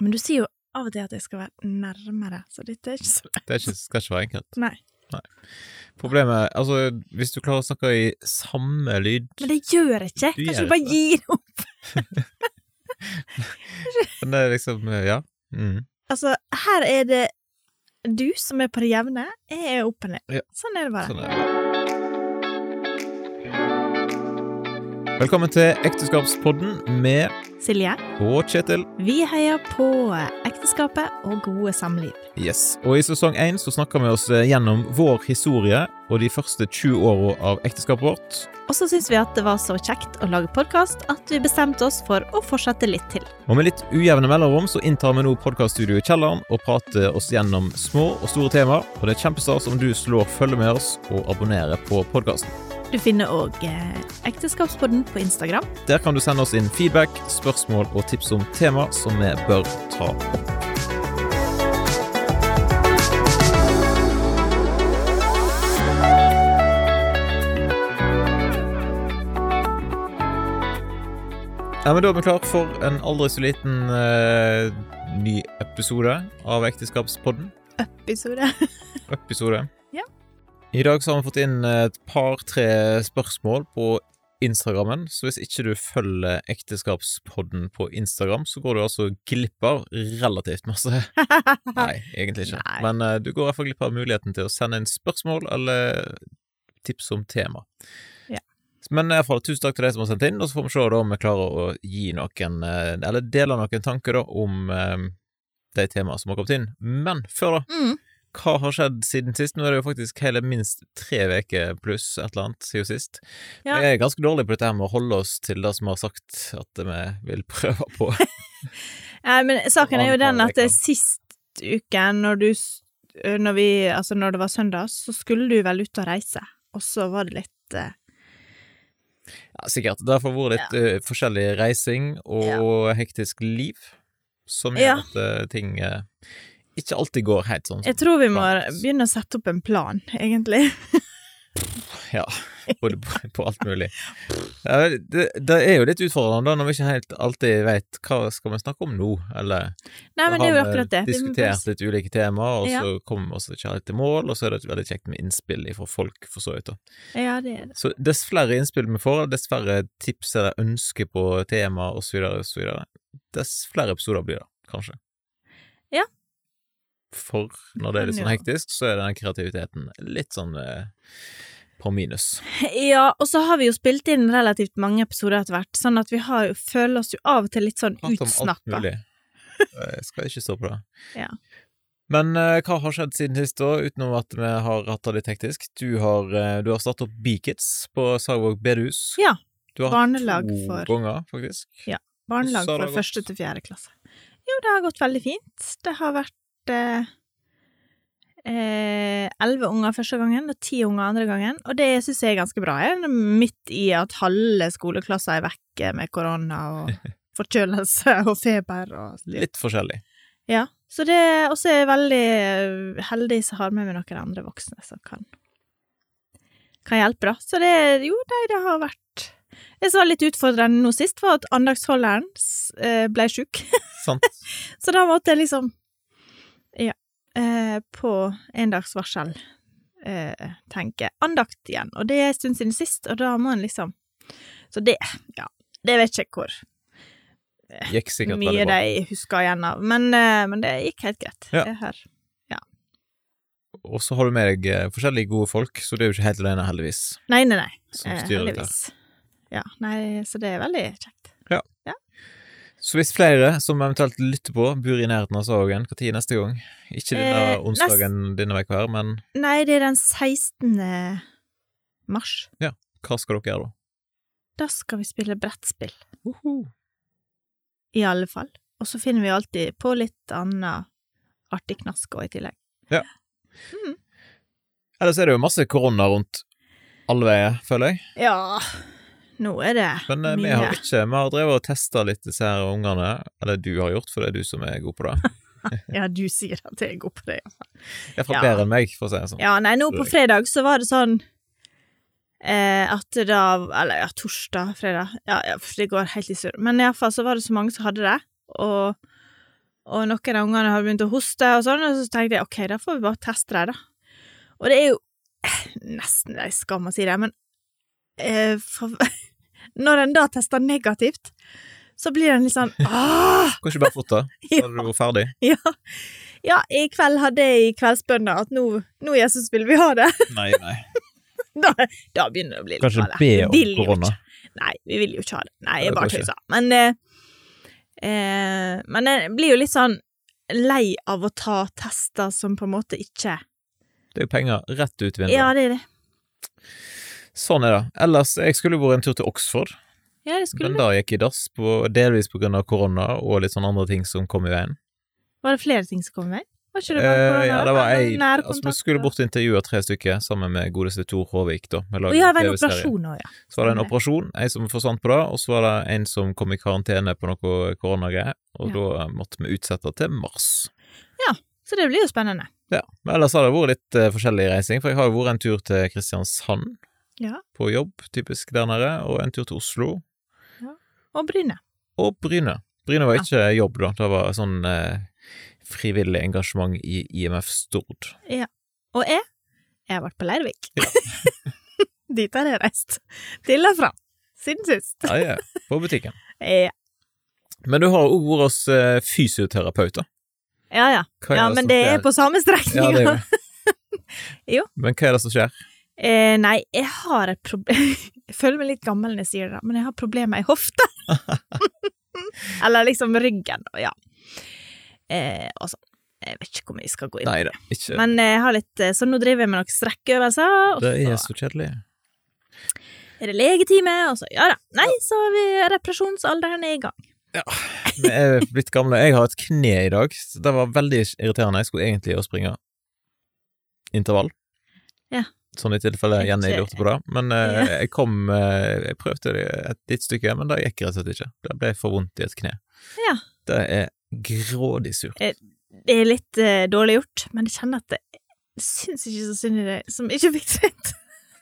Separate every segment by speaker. Speaker 1: Men du sier jo av og til at jeg skal være nærmere, så dette er ikke så lett.
Speaker 2: Det er ikke, skal ikke være enkelt.
Speaker 1: Nei.
Speaker 2: Problemet altså, hvis du klarer å snakke i samme lyd
Speaker 1: Men det gjør jeg ikke!
Speaker 2: Du
Speaker 1: Kanskje
Speaker 2: gjør
Speaker 1: du bare gir opp?
Speaker 2: Men det er liksom Ja. Mm.
Speaker 1: Altså, her er det du som er på det jevne, jeg er oppe ned.
Speaker 2: Ja.
Speaker 1: Sånn er det bare.
Speaker 2: Sånn er det. Velkommen til Ekteskapspodden med
Speaker 1: Silje,
Speaker 2: og Kjetil.
Speaker 1: vi heier på ekteskapet og gode samliv.
Speaker 2: Yes. Og i sesong én så snakker vi oss eh, gjennom vår historie og de første 20 åra av ekteskapet vårt.
Speaker 1: Og så syns vi at det var så kjekt å lage podkast at vi bestemte oss for å fortsette litt til.
Speaker 2: Og med litt ujevne mellomrom så inntar vi nå podkaststudioet i kjelleren og prater oss gjennom små og store temaer, og det er kjempestas om du slår følge med oss og abonnerer på podkasten.
Speaker 1: Du finner òg eh, Ekteskapspodden på Instagram.
Speaker 2: Der kan du sende oss inn feedback, spørsmål og tips om tema som vi bør ta opp. Ja, men Da er vi klar for en aldri så liten eh, ny episode av Ekteskapspodden.
Speaker 1: Episode.
Speaker 2: Episode.
Speaker 1: Ja.
Speaker 2: I dag så har vi fått inn et par-tre spørsmål på Instagrammen, så hvis ikke du følger Ekteskapspodden på Instagram, så går du altså glipp av relativt masse. Nei, egentlig ikke.
Speaker 1: Nei.
Speaker 2: Men eh, du går i hvert fall glipp av muligheten til å sende inn spørsmål eller tips om tema.
Speaker 1: Ja.
Speaker 2: Men i hvert fall, tusen takk til deg som har sendt inn, og så får vi se da om vi klarer å gi noen, eh, eller dele noen tanker da, om eh, de temaene som har kommet inn. Men før da,
Speaker 1: Mm.
Speaker 2: hva har skjedd siden sist? Nå er det jo faktisk hele minst tre uker pluss et eller annet siden sist.
Speaker 1: Ja.
Speaker 2: Jeg er ganske dårlig på dette her med å holde oss til det som vi har sagt at vi vil prøve på.
Speaker 1: Nei, men saken er jo den at
Speaker 2: Anbefaler jeg, ja.
Speaker 1: sist uke, når du s- ø, når, vi, altså når det var søndag, så skulle du vel ut og reise, og så var det litt eh,
Speaker 2: Ja, sikkert. Det har vært litt eh, forskjellig reising og hektisk liv, som gjør
Speaker 1: Ja.
Speaker 2: at eh, ting eh, ikke alltid går helt sånn.
Speaker 1: Jeg tror vi må
Speaker 2: Plan.
Speaker 1: begynne å sette opp en plan, egentlig.
Speaker 2: Ja, både på, på alt mulig. Ja, det, det er jo litt utfordrende da, når vi ikke helt alltid vet hva skal vi snakke om nå, eller
Speaker 1: Nei, men det
Speaker 2: har
Speaker 1: er jo
Speaker 2: vi
Speaker 1: akkurat det. Vi må bare-
Speaker 2: diskutert eh, litt ulike temaer, og
Speaker 1: Ja.
Speaker 2: så kommer vi oss ikke helt til mål, og så er det veldig kjekt med innspill fra folk, for så vidt. da.
Speaker 1: Ja, det er det.
Speaker 2: Så dess flere innspill vi får, dess færre tips eller ønsker på tema, og så videre, og så videre, dess flere episoder blir det, kanskje.
Speaker 1: Ja.
Speaker 2: For når det er litt
Speaker 1: Kan
Speaker 2: sånn
Speaker 1: jo.
Speaker 2: hektisk, så er den kreativiteten litt sånn eh, på minus.
Speaker 1: Ja, og så har vi jo spilt inn relativt mange episoder etter hvert, sånn at vi har jo, føler oss jo av og til litt sånn
Speaker 2: Prate om alt
Speaker 1: utsnappa.
Speaker 2: mulig. Jeg skal ikke stå på det.
Speaker 1: Ja.
Speaker 2: Men eh, hva har skjedd siden sist, da, utenom at vi har hatt det litt hektisk? Du har, eh, du har startet opp Beakits på Sagvåg bedehus.
Speaker 1: Ja,
Speaker 2: Du har hatt
Speaker 1: Barnelag
Speaker 2: to
Speaker 1: for,
Speaker 2: ganger, faktisk.
Speaker 1: barnelag
Speaker 2: Så har det
Speaker 1: for
Speaker 2: gått.
Speaker 1: første til fjerde klasse. Jo, det har gått veldig fint. Det har vært eh, eh, elleve unger første gangen og ti unger andre gangen, og det syns jeg er ganske bra. Jeg er midt i at halve skoleklasser er vekke med korona og forkjølelse og feber og
Speaker 2: Litt forskjellig.
Speaker 1: Ja. Så det Og så er jeg veldig eh, heldig som har med meg noen andre voksne som kan, kan hjelpe, da. Så det Jo, nei, det har vært Det som var litt utfordrende nå sist, var at andagsholderen s- eh, ble sjuk.
Speaker 2: Sant?
Speaker 1: Så da måtte jeg liksom Ja. Eh, på en dags varsel eh, tenke andakt igjen. Og det er en stund siden sist, og da må en liksom Så det Ja. Det vet ikke hvor
Speaker 2: Gikk sikkert
Speaker 1: mye
Speaker 2: veldig bra.
Speaker 1: de husker igjen av, men, eh, men det gikk helt greit.
Speaker 2: Ja.
Speaker 1: Det er her.
Speaker 2: Og så har du med deg eh, forskjellige gode folk, så du er jo ikke helt alene, heldigvis,
Speaker 1: Nei, nei, nei.
Speaker 2: som
Speaker 1: Eh,
Speaker 2: styrer dette.
Speaker 1: heldigvis. Ja, nei, så det er veldig kjekt.
Speaker 2: Så hvis flere som eventuelt lytter på, bor i nærheten av Sagvågen, når neste gang? Ikke denne
Speaker 1: Eh, nest-
Speaker 2: onsdagen denne uka her, men
Speaker 1: Nei, det er den 16. mars.
Speaker 2: hva skal dere gjøre da?
Speaker 1: Da skal vi spille brettspill,
Speaker 2: Uhu.
Speaker 1: i alle fall. Og så finner vi alltid på litt annet artig knask også i tillegg.
Speaker 2: Ellers er det jo masse korona rundt alle veier, føler jeg.
Speaker 1: Ja, nå er det
Speaker 2: Men eh, vi
Speaker 1: mye.
Speaker 2: har ikke Vi har drevet og testa litt disse her ungene. Eller du har gjort, for det er du som er god på det.
Speaker 1: Ja, du sier at jeg er god på det, ja.
Speaker 2: Iallfall
Speaker 1: Ja.
Speaker 2: bedre enn meg, for å si det sånn.
Speaker 1: Ja, nei, nå på
Speaker 2: Sorry.
Speaker 1: fredag så var det sånn eh, at da Eller ja, torsdag, fredag. Ja, ja for det går helt i surr. Men iallfall så var det så mange som hadde det, og og noen av ungene har begynt å hoste og sånn, og så tenkte jeg ok, da får vi bare teste dem, da. Og det er jo eh, nesten det er skam å si det, men eh, for, når en da tester negativt, så blir en litt sånn åh!
Speaker 2: Kanskje bare fått det? Da
Speaker 1: Ja,
Speaker 2: hadde du vært ferdig?
Speaker 1: ja, ja, i kveld hadde jeg i Kveldsbønder at nå, nå Jesus vil vi ha det.
Speaker 2: Nei, nei.
Speaker 1: Da, da begynner det å bli litt
Speaker 2: Kanskje
Speaker 1: gale.
Speaker 2: be
Speaker 1: Vi vil
Speaker 2: om
Speaker 1: jo
Speaker 2: korona.
Speaker 1: ikke- Nei, vi vil jo ikke ha det. Nei,
Speaker 2: Nei,
Speaker 1: jeg
Speaker 2: det
Speaker 1: bare
Speaker 2: går ikke.
Speaker 1: tøyser. Men eh, eh, Men jeg blir jo litt sånn lei av å ta tester som på en måte ikke
Speaker 2: Det er jo penger rett ut vinduet.
Speaker 1: Ja, det er det.
Speaker 2: Sånn er det. Ellers, jeg skulle jo vært en tur til Oxford,
Speaker 1: Ja, det skulle
Speaker 2: men
Speaker 1: det.
Speaker 2: da gikk jeg dass, på, delvis på grunn av korona og litt sånne andre ting som kom i veien.
Speaker 1: Var det flere ting som kom i vei? Var ikke det bare korona?
Speaker 2: Eh, ja, det var ei
Speaker 1: Nærkontakt
Speaker 2: altså, Vi skulle bort og intervjue tre stykker sammen med godeste Tor Håvik, da. med
Speaker 1: og-
Speaker 2: laget
Speaker 1: Å ja, det var en
Speaker 2: TV-serie.
Speaker 1: operasjon òg, ja.
Speaker 2: Så var det en
Speaker 1: Stemmer.
Speaker 2: operasjon, ei som forsvant på det, og så var det en som kom i karantene på noe koronagreier, og
Speaker 1: Ja.
Speaker 2: da måtte vi utsette til mars.
Speaker 1: Så det blir jo spennende.
Speaker 2: Ja, men ellers har det vært litt eh, forskjellig reising, for jeg har jo vært en tur til Kristiansand
Speaker 1: Ja.
Speaker 2: på jobb, typisk der nede, og en tur til Oslo,
Speaker 1: Og Bryne.
Speaker 2: og Bryne. Bryne var
Speaker 1: Ja.
Speaker 2: ikke jobb, da, det var sånn eh, frivillig engasjement i IMF Stord.
Speaker 1: Og jeg? Jeg har vært på Leirvik. Dit har jeg reist. Til og fra. Siden sist. Eh,
Speaker 2: Ja, ja, eh, på butikken.
Speaker 1: Ja,
Speaker 2: Men du har jo også vært hos eh, fysioterapeut, da.
Speaker 1: ja. ja.
Speaker 2: Hva
Speaker 1: Ja,
Speaker 2: det
Speaker 1: men
Speaker 2: som
Speaker 1: det er
Speaker 2: skjer?
Speaker 1: på samme
Speaker 2: Ja,
Speaker 1: strekninga.
Speaker 2: det er jo.
Speaker 1: Jo.
Speaker 2: Men hva er det som skjer?
Speaker 1: eh, nei, jeg har et problem Jeg føler meg litt gammel når jeg sier det, men jeg har problemer i hofta. Eller liksom ryggen, og ja. Eh, og sånn. Jeg vet ikke hvor mye jeg skal gå inn
Speaker 2: Nei da, ikke
Speaker 1: Men eh, jeg har litt eh, Så nå driver jeg med noen strekkøvelser, og
Speaker 2: Det
Speaker 1: så
Speaker 2: er så kjedelig.
Speaker 1: er det legetime, og så Ja da. Nei, så har vi reparasjonsalderen er i gang.
Speaker 2: Vi er blitt gamle. Jeg har et kne i dag. så Det var veldig irriterende. Jeg skulle egentlig å springe intervall.
Speaker 1: Ja.
Speaker 2: Sånn i tilfelle
Speaker 1: Ikke-
Speaker 2: Jenny lurte på det. Men eh, jeg kom eh, Jeg prøvde det et lite stykke, men det gikk rett og slett ikke. Det ble for vondt i et kne.
Speaker 1: Ja.
Speaker 2: Det er grådig surt.
Speaker 1: Det er litt eh, dårlig gjort, men jeg kjenner at det jeg syns ikke så synd i det som ikke fikk sett.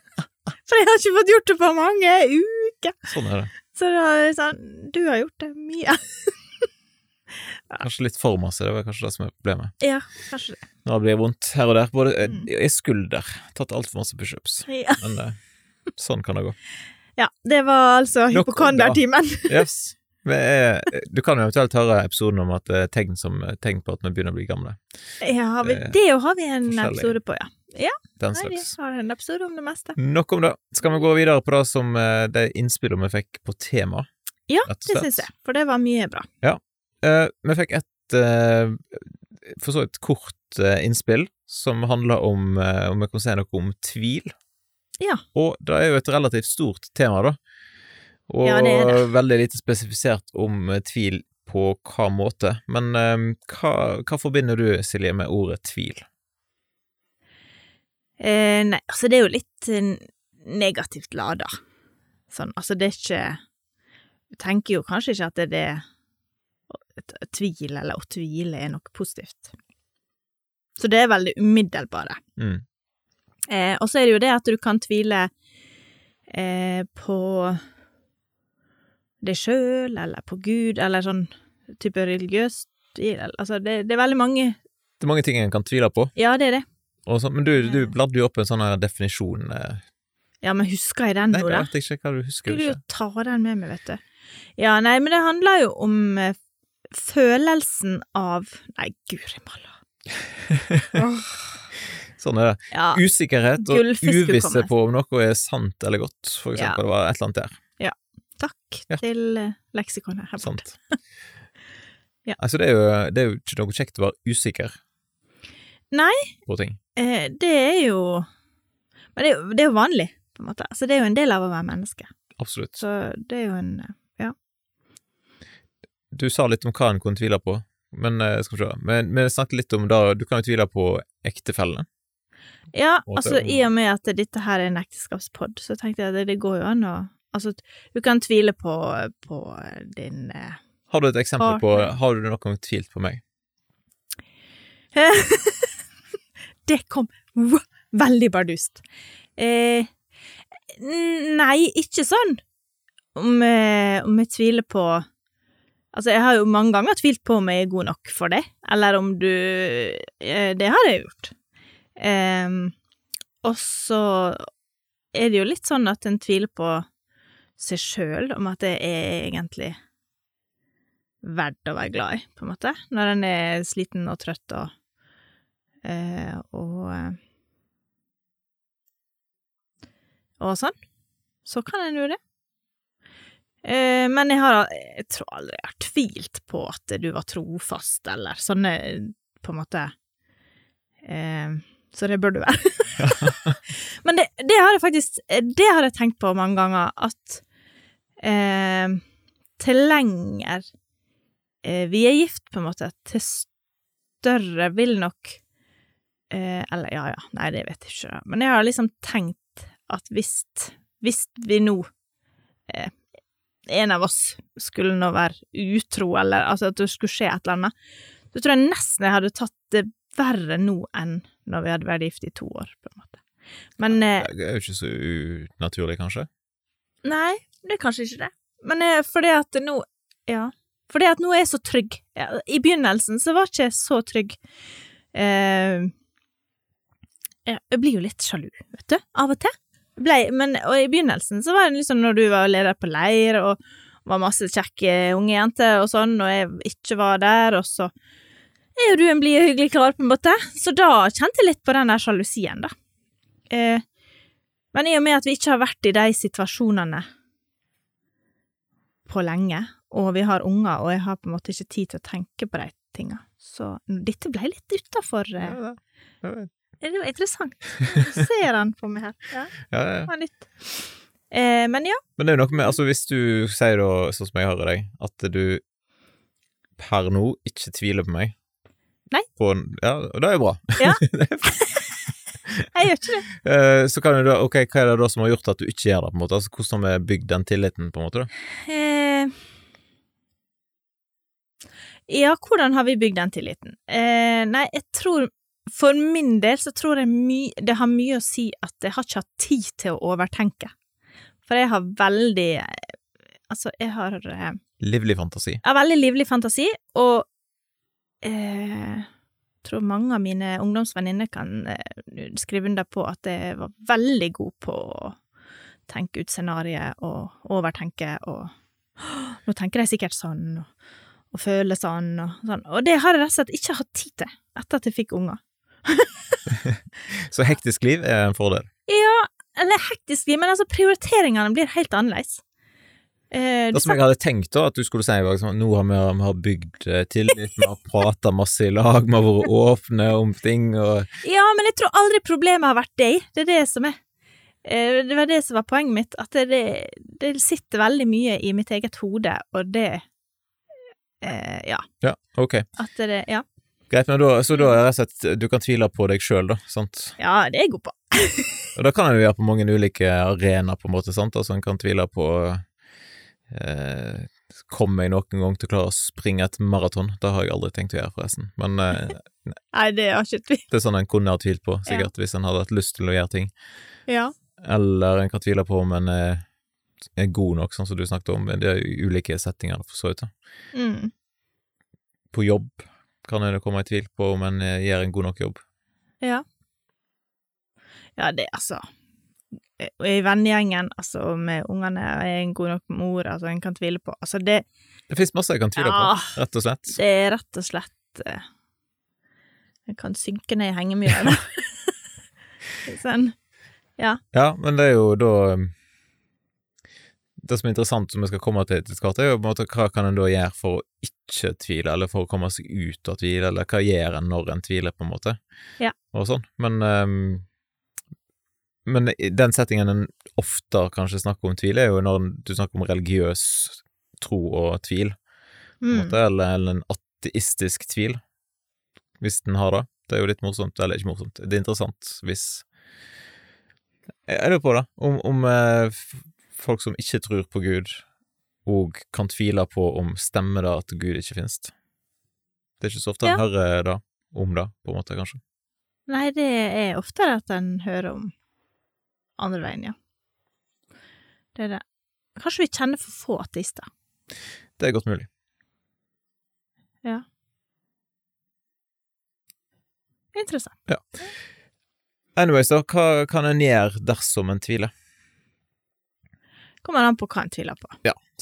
Speaker 1: For jeg har ikke fått gjort det på mange uker.
Speaker 2: Sånn er det.
Speaker 1: Så da er det sånn Du har gjort det mye.
Speaker 2: Kanskje litt for masse. Det var kanskje det som er problemet.
Speaker 1: ja, kanskje det.
Speaker 2: Når det blir vondt her og der. Både eh,
Speaker 1: Mm.
Speaker 2: i skulder. Tatt altfor masse pushups.
Speaker 1: Ja.
Speaker 2: Men eh, sånn kan det gå.
Speaker 1: ja. Det var altså
Speaker 2: Nok om
Speaker 1: hypokondertimen.
Speaker 2: Yes. Vi er, eh, du kan jo eventuelt høre episoden om at det er tegn som eh, tegn på at vi begynner å bli gamle.
Speaker 1: Ja, har vi,
Speaker 2: Eh,
Speaker 1: det jo har vi en
Speaker 2: forskjellig.
Speaker 1: episode på, ja.
Speaker 2: Den
Speaker 1: Nei, vi
Speaker 2: slags.
Speaker 1: har en episode om det meste.
Speaker 2: Nok om det. Skal vi gå videre på det som eh, det innspillet vi fikk på tema?
Speaker 1: Ja,
Speaker 2: rett og
Speaker 1: Det
Speaker 2: slett?
Speaker 1: syns jeg, for det var mye bra.
Speaker 2: Eh, vi fikk et eh, for så vidt kort eh, innspill som handla om eh, om vi kan si noe om tvil.
Speaker 1: Ja.
Speaker 2: Og det er jo et relativt stort tema, da. Og
Speaker 1: Ja, det er
Speaker 2: veldig lite spesifisert om eh, tvil på hva måte. Men eh, hva, hva forbinder du, Silje, med ordet tvil?
Speaker 1: Eh, nei, altså det er jo litt eh, negativt lada. Sånn, altså det er ikke Du tenker jo kanskje ikke at det er det at Tvil eller å tvile er noe positivt. Så det er veldig umiddelbare.
Speaker 2: Mm.
Speaker 1: Eh, og så er det jo det at du kan tvile eh, på deg sjøl, eller på Gud, eller sånn type religiøs tvil. eller- Altså, det, det er veldig mange
Speaker 2: Det er mange ting en kan tvile på,
Speaker 1: Ja, det er det.
Speaker 2: og sånn, men du, du
Speaker 1: Mm.
Speaker 2: bladde jo opp en sånn her definisjon eh.
Speaker 1: Ja, men husker jeg den
Speaker 2: Nei,
Speaker 1: nå,
Speaker 2: jeg
Speaker 1: da?
Speaker 2: vet ikke hva du husker.
Speaker 1: Skulle
Speaker 2: du
Speaker 1: jo
Speaker 2: Ikke.
Speaker 1: ta den med meg, vet du. Ja, nei, men det handler jo om eh, følelsen av Nei, guri malla. Åh,
Speaker 2: Sånn er det.
Speaker 1: ja.
Speaker 2: Usikkerhet og
Speaker 1: Gullfisk skulle
Speaker 2: uvisse
Speaker 1: komme.
Speaker 2: på om noe er sant eller godt, for eksempel. Det var et eller annet der.
Speaker 1: Takk
Speaker 2: Ja.
Speaker 1: til eh, leksikonet her borte.
Speaker 2: Sant.
Speaker 1: Ja.
Speaker 2: Altså, det er, jo, det er jo ikke noe kjekt å være usikker
Speaker 1: Nei.
Speaker 2: på ting.
Speaker 1: Eh, det er jo Men det er jo, det er jo vanlig, på en måte. Altså, det er jo en del av å være menneske.
Speaker 2: Absolutt.
Speaker 1: Så det er jo en eh,
Speaker 2: Du sa litt om hva en kunne tvile på, men eh, skal vi se. Men vi snakket litt om da Du kan jo tvile på ektefellene.
Speaker 1: Ja,
Speaker 2: Og at
Speaker 1: altså
Speaker 2: det er ung.
Speaker 1: i og med at dette her er en ekteskapspod, så tenkte jeg at det, det går jo an å Altså, du kan tvile på, på din eh,
Speaker 2: Har du et eksempel på
Speaker 1: Partner.
Speaker 2: Har du noen gang tvilt på meg?
Speaker 1: Det kom wow, veldig bardust. Eh, n- nei, ikke sånn. Om, eh, om jeg tviler på Altså, jeg har jo mange ganger tvilt på om jeg er god nok for det, eller om du eh, Det har jeg gjort. Ehm, og så er det jo litt sånn at en tviler på seg sjøl, om at det er egentlig verdt å være glad i, på en måte, når en er sliten og trøtt og eh, og, eh, og sånn. Så kan en jo det. Eh, men jeg har jeg tror aldri jeg har tvilt på at du var trofast, eller sånne på en måte eh, Så det bør du være. men det, det har jeg faktisk Det har jeg tenkt på mange ganger, at eh, til lenger eh, vi er gift, på en måte, til større vil nok eh, Eller ja, ja, nei, det vet jeg ikke, da. Men jeg har liksom tenkt at hvis, hvis vi nå eh, en av oss skulle nå være utro, eller altså at det skulle skje et eller annet, så tror jeg nesten jeg hadde tatt det verre nå enn når vi hadde vært gift i to år, på en måte. Men eh,
Speaker 2: Det er jo ikke så unaturlig, kanskje.
Speaker 1: Nei, det er kanskje ikke det. Men eh, fordi at nå Ja. Fordi at nå er jeg så trygg. Ja, I begynnelsen så var ikke jeg så trygg. Eh, jeg jeg blir jo litt sjalu, vet du, av og til. Ble, men og i begynnelsen så var det liksom når du var leder på leir, og var masse kjekke unge jenter og sånn, og jeg ikke var der, og så er jo du en blid og hyggelig kar, på en måte. Så da kjente jeg litt på den der sjalusien, da. Eh, men i og med at vi ikke har vært i de situasjonene på lenge, og vi har unger, og jeg har på en måte ikke tid til å tenke på de tinga, så dette ble litt utafor
Speaker 2: Ja,
Speaker 1: eh,
Speaker 2: det- det vet jeg.
Speaker 1: Det var interessant. Jeg ser han på meg her. Ja,
Speaker 2: Ja, ja, ja.
Speaker 1: det var nytt. Eh, men ja,
Speaker 2: Men det er jo noe med altså Hvis du sier da, sånn som jeg hører deg, at du per nå ikke tviler på meg
Speaker 1: Nei.
Speaker 2: På, en- ja, og det er jo bra.
Speaker 1: jeg gjør ikke det.
Speaker 2: Eh, så kan du da, ok, hva er det da som har gjort at du ikke gjør det, på en måte? Altså, hvordan har vi bygd den tilliten, på en måte? da?
Speaker 1: Eh, ja, hvordan har vi bygd den tilliten? Eh, nei, jeg tror For min del så tror jeg my, det har mye å si at jeg har ikke hatt tid til å overtenke. For jeg har veldig eh, Altså, jeg har eh,
Speaker 2: Livlig fantasi.
Speaker 1: Jeg har veldig livlig fantasi, og eh, tror mange av mine ungdomsvenninner kan eh, skrive under på at jeg var veldig god på å tenke ut scenarioer og overtenke og «Åh, Nå tenker de sikkert sånn, og, og føler sånn og sånn. Og det har jeg rett og slett ikke hatt tid til etter at jeg fikk unger.
Speaker 2: Så hektisk liv er en fordel.
Speaker 1: Eller hektisk, men altså prioriteringene blir helt annerledes. Eh,
Speaker 2: Det
Speaker 1: du
Speaker 2: som jeg hadde tenkt da, at du skulle si i dag, sånn, nå har vi, vi har bygd eh, tillit, vi har prata masse i lag, vi har vært åpne om ting og
Speaker 1: Ja, men jeg tror aldri problemet har vært deg. Det er det som er eh, Det var det som var poenget mitt, at det, det sitter veldig mye i mitt eget hode, og det eh, Ja.
Speaker 2: Ja, ok.
Speaker 1: At det Ja,
Speaker 2: Greit, men da, så da er det rett og slett du kan tvile på deg sjøl, da. sant?
Speaker 1: ja det er jeg god på.
Speaker 2: Og det kan en jo gjøre på mange ulike arenaer, på en måte, sant? Altså en kan tvile på eh, Kommer jeg noen gang til å klare å springe et maraton? Det har jeg aldri tenkt å gjøre, forresten. Men eh,
Speaker 1: Nei, det har ikke tvil.
Speaker 2: det er sånn en kunne ha tvilt på, sikkert, hvis en hadde hatt lyst til å gjøre ting.
Speaker 1: Ja.
Speaker 2: Eller en kan tvile på om en er, er god nok, sånn som du snakket om. Det er jo ulike settinger, for så vidt. da.
Speaker 1: Mm.
Speaker 2: På jobb kan en jo komme i tvil på om en eh, gjør en god nok jobb.
Speaker 1: Ja. Ja, det, altså eh, Og i vennegjengen, altså med ungene, er en god nok mor, altså en kan tvile på Altså, det
Speaker 2: Det fins masse jeg kan tvile
Speaker 1: Ja.
Speaker 2: på, rett og slett.
Speaker 1: Det er rett og slett eh, Jeg kan synke ned i hengemyra, da. sånn.
Speaker 2: Ja, men det er jo da um, Det som er interessant, som vi skal komme til etter hvert, er jo på en måte hva kan en da gjøre for å ikke tvile, eller for å komme seg ut av tvil, eller hva gjør en når en tviler, på en måte,
Speaker 1: Ja.
Speaker 2: og sånn. Men um, men i den settingen en ofte kanskje snakker om tvil, er jo når en- du snakker om religiøs tro og tvil, på en
Speaker 1: Mm.
Speaker 2: måte, eller, eller en ateistisk tvil, hvis den har det. Det er jo litt morsomt, eller ikke morsomt, det er interessant hvis Jeg lurer på det, om, om eh, f- folk som ikke tror på Gud, og kan tvile på om stemmer det at Gud ikke finnes. Det er ikke så ofte en
Speaker 1: Ja.
Speaker 2: hører det, om det, på en måte, kanskje.
Speaker 1: Nei, det er oftere at en hører om andre veien, ja. Det er det. Kanskje vi kjenner for få ateister.
Speaker 2: Det er godt mulig.
Speaker 1: Interessant.
Speaker 2: Anyways, da, hva kan en gjøre dersom en tviler?
Speaker 1: Kommer an på hva en tviler på.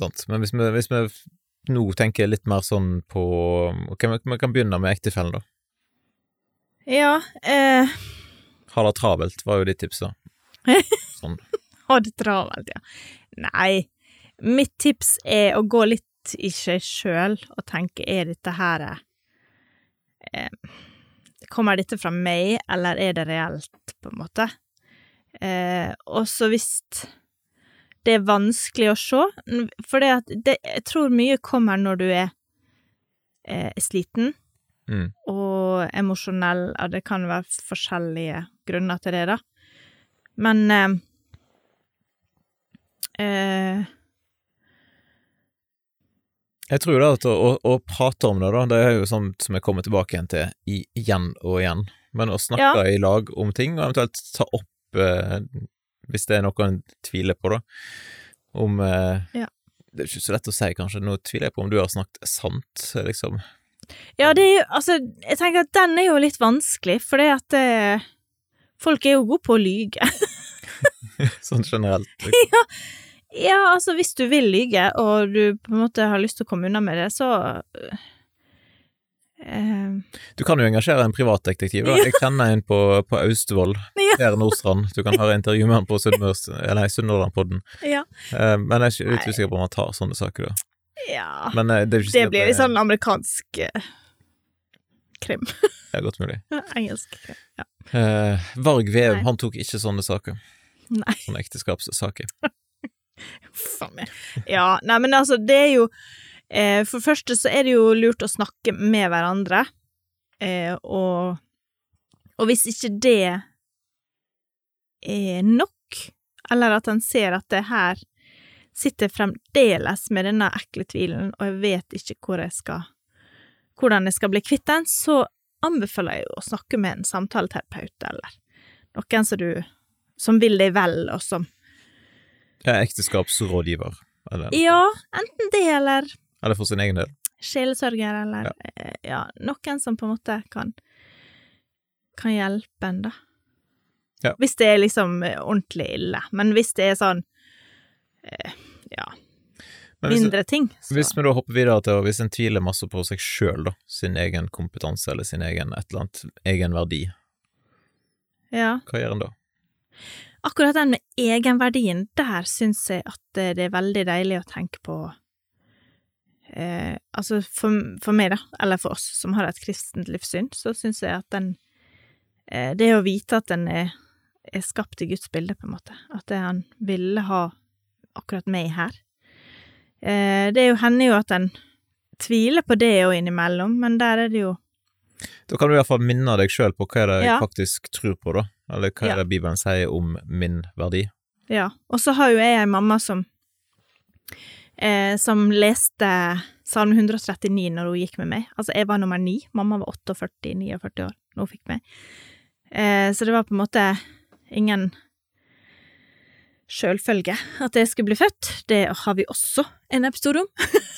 Speaker 2: Sant? Men hvis vi, hvis vi f- nå tenker litt mer sånn på Ok, vi, vi kan begynne med ektefellen, da.
Speaker 1: Ja, eh,
Speaker 2: Ha det travelt, var jo de tipsa.
Speaker 1: ha det travelt, ja. Nei, mitt tips er å gå litt i seg sjøl og tenke er dette her eh, Kommer dette fra meg, eller er det reelt, på en måte? Eh, og så hvis det er vanskelig å se, for det at det, jeg tror mye kommer når du er eh, sliten
Speaker 2: Mm.
Speaker 1: og emosjonell, ja, det kan være forskjellige grunner til det, da. Men eh, eh,
Speaker 2: Jeg tror da at å, å, å prate om det, da, det er jo sånt som jeg kommer tilbake igjen til i- igjen og igjen. Men å snakke i lag om ting, og eventuelt ta opp eh, hvis det er noe en tviler på, da. Om eh,
Speaker 1: Ja.
Speaker 2: Det er ikke så lett å si, kanskje. Nå tviler jeg på om du har snakket sant, liksom.
Speaker 1: Ja, det er jo Altså, jeg tenker at den er jo litt vanskelig, fordi at eh, folk er jo gode på å lyge.
Speaker 2: Sånn generelt. Liksom.
Speaker 1: ja, altså, hvis du vil lyge, og du på en måte har lyst til å komme unna med det, så eh,
Speaker 2: Du kan jo engasjere en privatdetektiv. Da. Jeg kjenner en på, på Austevoll,
Speaker 1: Ja.
Speaker 2: Per Nordstrand. Du kan høre intervju med han på Sunnmørs- eller nei, Sunnhordlandpodden.
Speaker 1: Ja.
Speaker 2: Eh, Men jeg er ikke litt
Speaker 1: Nei.
Speaker 2: usikker på om han tar sånne saker, da.
Speaker 1: Ja.
Speaker 2: Men eh, det er jo
Speaker 1: Det
Speaker 2: ikke sikkert
Speaker 1: blir litt sånn amerikansk eh, krim.
Speaker 2: Det er godt mulig.
Speaker 1: Engelsk krim. Ja.
Speaker 2: Eh, Varg Veum,
Speaker 1: Nei.
Speaker 2: han tok ikke sånne saker.
Speaker 1: Nei.
Speaker 2: Sånne ekteskapssaker.
Speaker 1: Faen meg. Ja, nei, men altså, det er jo eh, For det første så er det jo lurt å snakke med hverandre, eh, og Og hvis ikke det er nok, eller at en ser at det her sitter fremdeles med denne ekle tvilen, og jeg vet ikke hvor jeg skal hvordan jeg skal bli kvitt den, så anbefaler jeg jo å snakke med en samtaleterapeut eller noen som du som vil deg vel, og som
Speaker 2: Ja, ekteskapsrådgiver. Eller,
Speaker 1: Ja, enten det eller
Speaker 2: eller for sin egen del.
Speaker 1: sjelesørger eller eh, ja, noen som på en måte kan, kan hjelpe en, da.
Speaker 2: Ja.
Speaker 1: Hvis det er liksom eh, ordentlig ille. Men hvis det er sånn eh, ja,
Speaker 2: Men hvis,
Speaker 1: mindre ting, så
Speaker 2: hvis vi da hopper videre til hvis en tviler masse på seg sjøl, da. Sin egen kompetanse eller sin egen et eller annet, egen verdi.
Speaker 1: Ja.
Speaker 2: Hva gjør en da?
Speaker 1: Akkurat den med egenverdien, der syns jeg at eh, det er veldig deilig å tenke på eh, Altså for, for meg, da, eller for oss som har et kristent livssyn, så syns jeg at den eh, Det å vite at den er, er skapt i Guds bilde, på en måte. At det han ville ha akkurat meg her. Eh, det er jo, hender jo at en tviler på det òg innimellom, men der er det jo
Speaker 2: Da kan du i hvert fall minne deg sjøl på hva er det jeg
Speaker 1: Ja.
Speaker 2: faktisk tror på, da. Eller hva
Speaker 1: Ja.
Speaker 2: er det Bibelen sier om min verdi.
Speaker 1: Ja, og så har jo jeg en mamma som eh, som leste Salme 139 når hun gikk med meg. Altså, jeg var nummer ni, mamma var 48-49 år når hun fikk meg. Eh, så det var på en måte ingen sjølfølge at jeg skulle bli født. Det har vi også en episode om.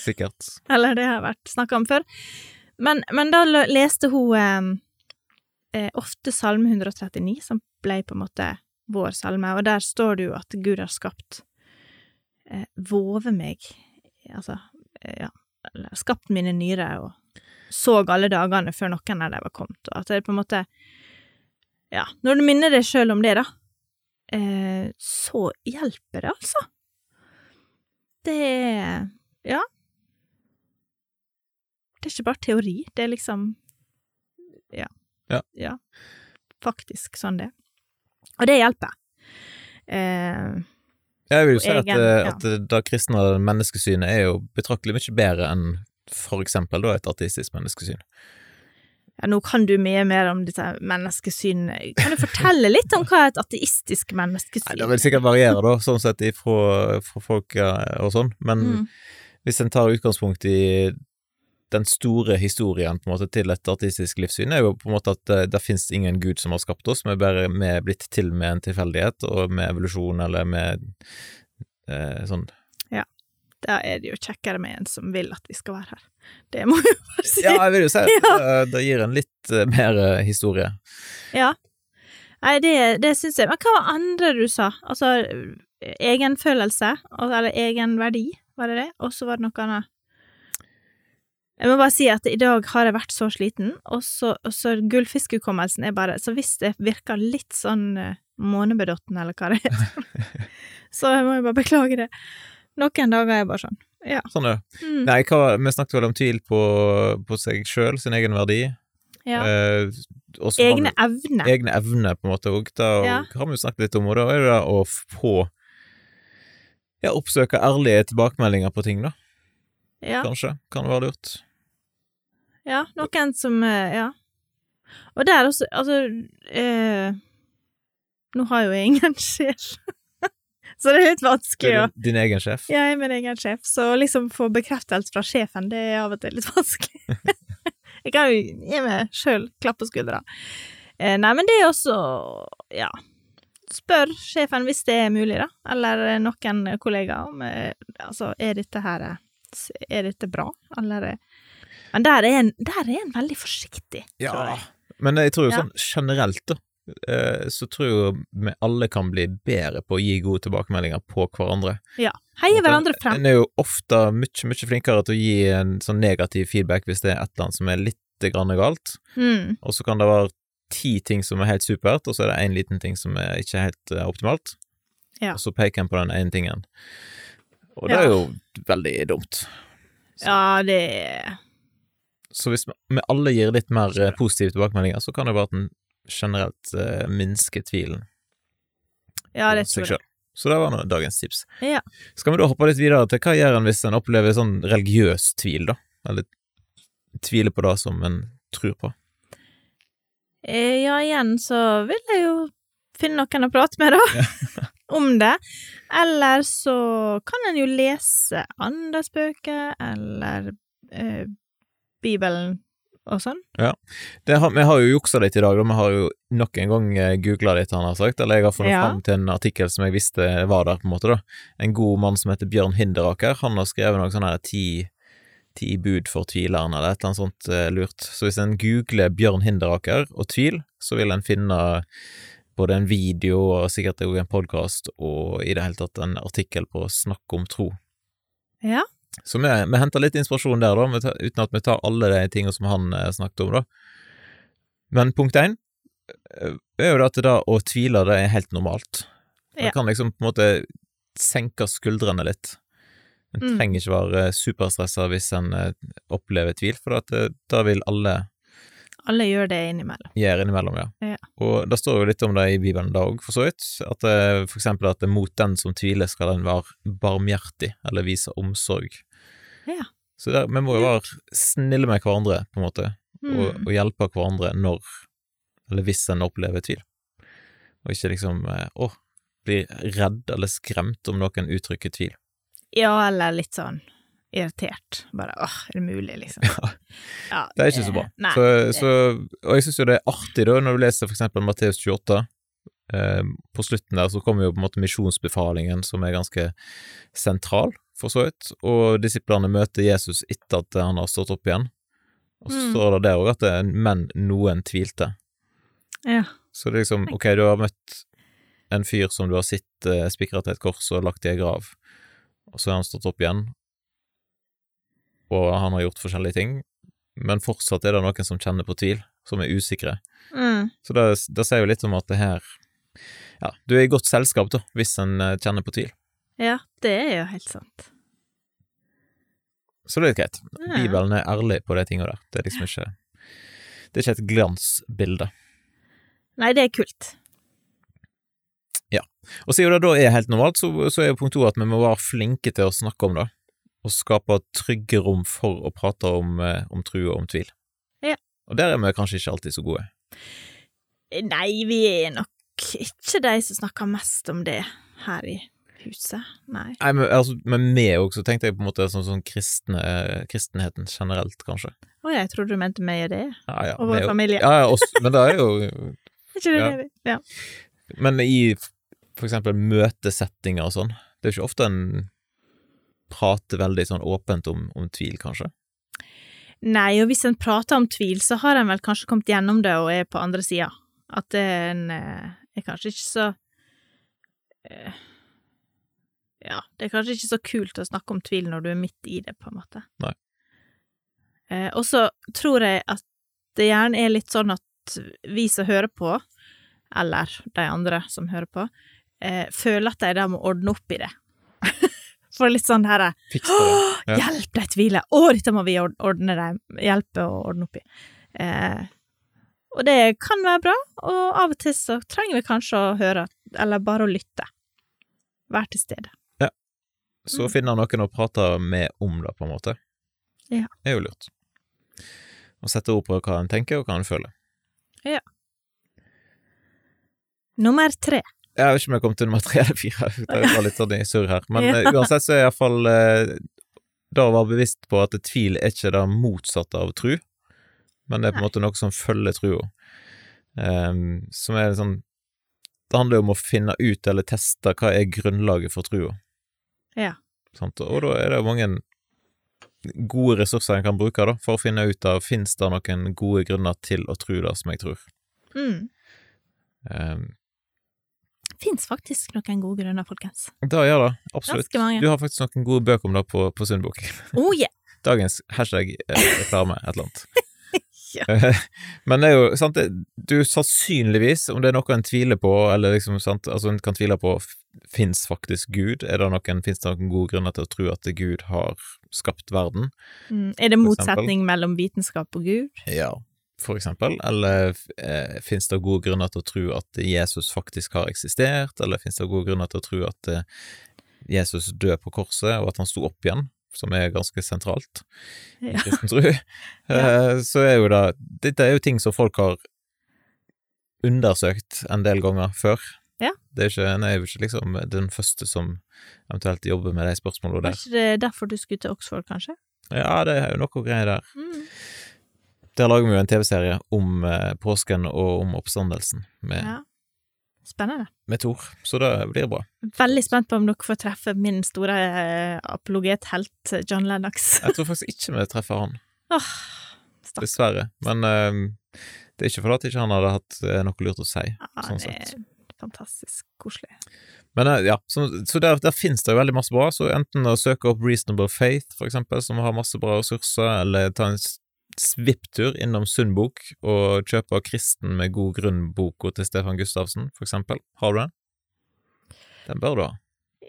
Speaker 2: Sikkert.
Speaker 1: Eller det har vært snakka om før. Men, men da lø- leste hun ehm, eh, eh, ofte Salme 139, som ble på en måte vår salme, og der står det jo at Gud har skapt eh, vove meg, altså eh, ja, eller skapt mine nyrer og såg alle dagene før noen av dem var kommet, og at det på en måte Ja, når du minner deg sjøl om det, da, eh, så hjelper det, altså. Det er det er ikke bare teori, det er liksom Ja.
Speaker 2: Ja.
Speaker 1: Faktisk sånn det. er. Og det hjelper. Eh,
Speaker 2: Jeg vil jo si
Speaker 1: Og
Speaker 2: at,
Speaker 1: egen,
Speaker 2: eh,
Speaker 1: ja.
Speaker 2: at det- det kristne menneskesynet er jo betraktelig mye bedre enn for eksempel da, et ateistisk menneskesyn.
Speaker 1: ja, nå kan du mye mer om disse menneskesynene. Kan du fortelle litt om hva et ateistisk
Speaker 2: Nei,
Speaker 1: menneskesyn
Speaker 2: det vil sikkert variere, da, sånn sett ifra fra folk ja, og sånn, men
Speaker 1: Mm.
Speaker 2: hvis en tar utgangspunkt i den store historien på en måte til et artistisk livssyn, er jo på en måte at eh, det, det finnes ingen gud som har skapt oss, vi er bare vi er blitt til med en tilfeldighet og med evolusjon eller med eh, sånn
Speaker 1: da er det jo kjekkere med en som vil at vi skal være her. Det må jeg jo bare si.
Speaker 2: Ja, jeg vil jo si at
Speaker 1: Ja.
Speaker 2: eh, det gir en litt eh, mer eh, historie.
Speaker 1: Nei, det, det syns jeg. Men hva var andre du sa? Altså egenfølelse, al- eller egenverdi, var det det? Og så var det noe annet. Jeg må bare si at i dag har jeg vært så sliten, og så, og så gullfiskhukommelsen er bare Så hvis det virker litt sånn eh, månebedotten, eller hva det heter, så må jeg bare beklage det. Noen dager er jeg bare sånn.
Speaker 2: Sånn er det.
Speaker 1: Mm,
Speaker 2: Nei, hva, vi snakket vel om tvil på, på seg sjøl, sin egen verdi.
Speaker 1: ja.
Speaker 2: Eh, og så har
Speaker 1: Egne evner.
Speaker 2: vi egne evner, på en måte òg. Da
Speaker 1: Ja.
Speaker 2: har vi jo snakket litt om, og da er det det å få ja, oppsøke ærlige tilbakemeldinger på ting, da.
Speaker 1: Ja.
Speaker 2: Kanskje. Kan være lurt.
Speaker 1: Ja, noen som eh, Ja. Og der også Altså eh, Nå har jo jeg ingen sjef, så det er litt
Speaker 2: Du
Speaker 1: vanskelig å
Speaker 2: er din, din egen sjef.
Speaker 1: Jeg er min egen sjef, så å liksom få bekreftelse fra sjefen, det er av og til litt vanskelig. jeg kan jo gi meg sjøl klapp på skuldra. Eh, nei, men det er også Ja. Spør sjefen hvis det er mulig, da, eller eh, noen kollegaer, om eh, Altså, er dette her eh, s- Er dette bra, eller eh, Men der er en, der er en veldig forsiktig, tror jeg.
Speaker 2: Men jeg tror jo
Speaker 1: Ja.
Speaker 2: sånn generelt, da, eh, så tror jeg vi alle kan bli bedre på å gi gode tilbakemeldinger på hverandre.
Speaker 1: Heier hverandre frem.
Speaker 2: En er jo ofte mye, mye flinkere til å gi en sånn negativ feedback hvis det er et eller annet som er litt grann galt,
Speaker 1: Mm,
Speaker 2: og så kan det være ti ting som er helt supert, og så er det én liten ting som er ikke helt eh, optimalt,
Speaker 1: Ja.
Speaker 2: og så peker en på den ene tingen. Og det
Speaker 1: Ja.
Speaker 2: er jo veldig dumt.
Speaker 1: ja, det er
Speaker 2: Så hvis vi- vi alle gir litt mer eh, positive tilbakemeldinger, så kan det være at en generelt eh, minsker tvilen
Speaker 1: Ja, det
Speaker 2: på seg
Speaker 1: tror jeg.
Speaker 2: selv. Så det var nå dagens tips.
Speaker 1: Ja.
Speaker 2: Skal vi da hoppe litt videre til hva gjør en hvis en opplever sånn religiøs tvil, da? Eller tviler på det som en tror på?
Speaker 1: Eh, Ja, igjen så vil jeg jo finne noen å prate med, da. Om det. Eller så kan en jo lese andres bøker, eller eh, Bibelen og sånn.
Speaker 2: Det har, vi har jo juksa litt i dag, da. Vi har jo nok en gang googla litt, han har sagt. Eller jeg har funnet
Speaker 1: Ja.
Speaker 2: fram til en artikkel som jeg visste var der, på en måte, da. En god mann som heter Bjørn Hinderaker. Han har skrevet noe sånn her ti, ti bud for tvileren, eller et eller annet sånt eh, lurt. Så hvis en googler Bjørn Hinderaker og tvil, så vil en finne både en video og sikkert også en podkast og i det hele tatt en artikkel på Snakk om tro.
Speaker 1: Ja.
Speaker 2: Så vi, vi henter litt inspirasjon der, da, vi tar- uten at vi tar alle de tingene som han eh, snakket om, da. Men punkt én eh, er jo det at det da å tvile, det er helt normalt.
Speaker 1: Ja.
Speaker 2: Det kan liksom på en måte senke skuldrene litt. En
Speaker 1: Mm.
Speaker 2: trenger ikke være eh, superstressa hvis en eh, opplever tvil, for at eh, da vil alle
Speaker 1: Alle gjør det innimellom.
Speaker 2: gjør innimellom, ja.
Speaker 1: Ja.
Speaker 2: Og det står jo litt om det i Bibelen da òg, for så vidt. At det, for eksempel at det mot den som tviler, skal den være barmhjertig, eller vise omsorg.
Speaker 1: Ja. Mm.
Speaker 2: Så der, vi må jo
Speaker 1: Ja.
Speaker 2: være snille med hverandre, på en måte, og,
Speaker 1: Mm.
Speaker 2: og hjelpe hverandre når, eller hvis en opplever tvil. Og ikke liksom eh, å, bli redd eller skremt om noen uttrykker tvil.
Speaker 1: Ja, eller litt sånn irritert. Bare åh, er det mulig, liksom? Ja,
Speaker 2: Det er ikke så bra.
Speaker 1: Eh, Nei.
Speaker 2: Så, så, og jeg syns jo det er artig, da, når du leser for eksempel Matteus 28. Eh, på slutten der så kommer jo på en måte misjonsbefalingen, som er ganske sentral, for så vidt. Og disiplene møter Jesus etter at han har stått opp igjen. Og så
Speaker 1: Mm.
Speaker 2: står det der òg at det er men noen tvilte.
Speaker 1: Ja.
Speaker 2: Så det er liksom, ok, du har møtt en fyr som du har sett eh, spikra til et kors og lagt i ei grav, og så har han stått opp igjen, og han har gjort forskjellige ting, men fortsatt er det noen som kjenner på tvil, som er usikre.
Speaker 1: Mm.
Speaker 2: Så det, det sier jo litt om at det her Ja, du er i godt selskap, da, hvis en eh, kjenner på tvil.
Speaker 1: ja, det er jo helt sant.
Speaker 2: Så det er litt greit.
Speaker 1: Ja.
Speaker 2: Bibelen er ærlig på de tinga der. Det er liksom ikke Det er ikke et glansbilde.
Speaker 1: Nei, det er kult.
Speaker 2: Og siden det da er helt normalt, så, så er jo punkt to at vi må være flinke til å snakke om det, og skape trygge rom for å prate om, eh, om tro og om tvil.
Speaker 1: Ja.
Speaker 2: Og der er vi kanskje ikke alltid så gode.
Speaker 1: Nei, vi er nok ikke de som snakker mest om det her i huset. Nei.
Speaker 2: Nei, men, altså, men vi òg, så tenkte jeg på en måte sånn, sånn kristne, eh, kristenheten generelt, kanskje.
Speaker 1: Å, jeg trodde du mente meg og det.
Speaker 2: Ja, ja,
Speaker 1: Og
Speaker 2: vi
Speaker 1: vår
Speaker 2: er jo-
Speaker 1: familie.
Speaker 2: Ja, ja, oss, men det er jo
Speaker 1: Er ikke det
Speaker 2: Ja.
Speaker 1: det vi Ja.
Speaker 2: Men i f- for eksempel møtesettinger og sånn, det er jo ikke ofte en prater veldig sånn åpent om, om tvil, kanskje.
Speaker 1: Nei, og hvis en prater om tvil, så har en vel kanskje kommet gjennom det og er på andre sida. At en eh, er kanskje ikke så eh, Ja, det er kanskje ikke så kult å snakke om tvil når du er midt i det, på en måte.
Speaker 2: Nei.
Speaker 1: Eh, og så tror jeg at det gjerne er litt sånn at vi som hører på, eller de andre som hører på, eh, føler at de da må ordne opp i det. For litt sånn herre
Speaker 2: Fiks det. Ja.
Speaker 1: Hjelp, de tviler! Å, dette må vi ord- ordne dem. Hjelpe og ordne opp i. Eh, og det kan være bra, og av og til så trenger vi kanskje å høre, eller bare å lytte. Være til stede.
Speaker 2: Så finner noen å prate med om det, på en måte.
Speaker 1: Ja.
Speaker 2: Det er jo lurt. Og sette ord på hva en tenker, og hva en føler.
Speaker 1: Nummer tre.
Speaker 2: Jeg vet ikke om jeg kom til nummer tre eller fire, det var litt sånn i surr her. Men
Speaker 1: Ja.
Speaker 2: eh, uansett så er iallfall eh, det å være bevisst på at tvil er ikke det motsatte av tru, men det er på en
Speaker 1: Nei.
Speaker 2: måte noe som følger trua. Ehm, som er sånn Det handler jo om å finne ut eller teste hva er grunnlaget for trua.
Speaker 1: Ja.
Speaker 2: Sant? Og da er det jo mange gode ressurser en kan bruke da, for å finne ut av finnes det noen gode grunner til å tro det som jeg tror.
Speaker 1: Mm.
Speaker 2: Um,
Speaker 1: Fins faktisk noen gode grunner, folkens.
Speaker 2: Det gjør det, absolutt.
Speaker 1: Ganske mange.
Speaker 2: Du har faktisk noen gode bøker om det på, på Sundbok.
Speaker 1: Oh yeah!
Speaker 2: Dagens hashtag eh, reklame, et eller annet.
Speaker 1: Ja.
Speaker 2: Eh, Men det er jo sant, det, du sannsynligvis, om det er noe en tviler på, eller liksom sant, altså en kan tvile på Fins faktisk Gud? Er det noen, Fins det noen gode grunner til å tro at Gud har skapt verden?
Speaker 1: Mm. Er det
Speaker 2: For
Speaker 1: motsetning mellom vitenskap og Gud?
Speaker 2: Ja. For eksempel, eller eh, fins det gode grunner til å tro at Jesus faktisk har eksistert, eller fins det gode grunner til å tro at eh, Jesus døde på korset, og at han sto opp igjen, som er ganske sentralt i
Speaker 1: Ja.
Speaker 2: kristen tro, eh, så er jo det Dette er jo ting som folk har undersøkt en del ganger før.
Speaker 1: Ja.
Speaker 2: Det er ikke, en er jo ikke liksom den første som eventuelt jobber med de spørsmålene
Speaker 1: Var
Speaker 2: der.
Speaker 1: ikke det derfor du skulle til Oxford, kanskje?
Speaker 2: Ja, det er jo noe greier der.
Speaker 1: Mm.
Speaker 2: Der lager vi jo en TV-serie om eh, påsken og om oppstandelsen med,
Speaker 1: Ja. Spennende.
Speaker 2: med Thor, så det blir bra.
Speaker 1: Veldig spent på om dere får treffe min store eh, apologet-helt eh, John Lennox.
Speaker 2: Jeg tror faktisk ikke vi treffer han,
Speaker 1: Åh, stakkars.
Speaker 2: dessverre. Men eh, det er ikke fordi at ikke han hadde hatt eh, noe lurt å si. sånn
Speaker 1: det
Speaker 2: sett.
Speaker 1: er fantastisk koselig.
Speaker 2: Men eh, ja, så, så der, der finnes det jo veldig masse bra, så enten å søke opp Reasonable Faith, for eksempel, som har masse bra ressurser, eller ta en s- svipptur innom Sundbok og kjøpe Kristen med god grunn-boka til Stefan Gustavsen, for eksempel. Har du den? Den bør du ha.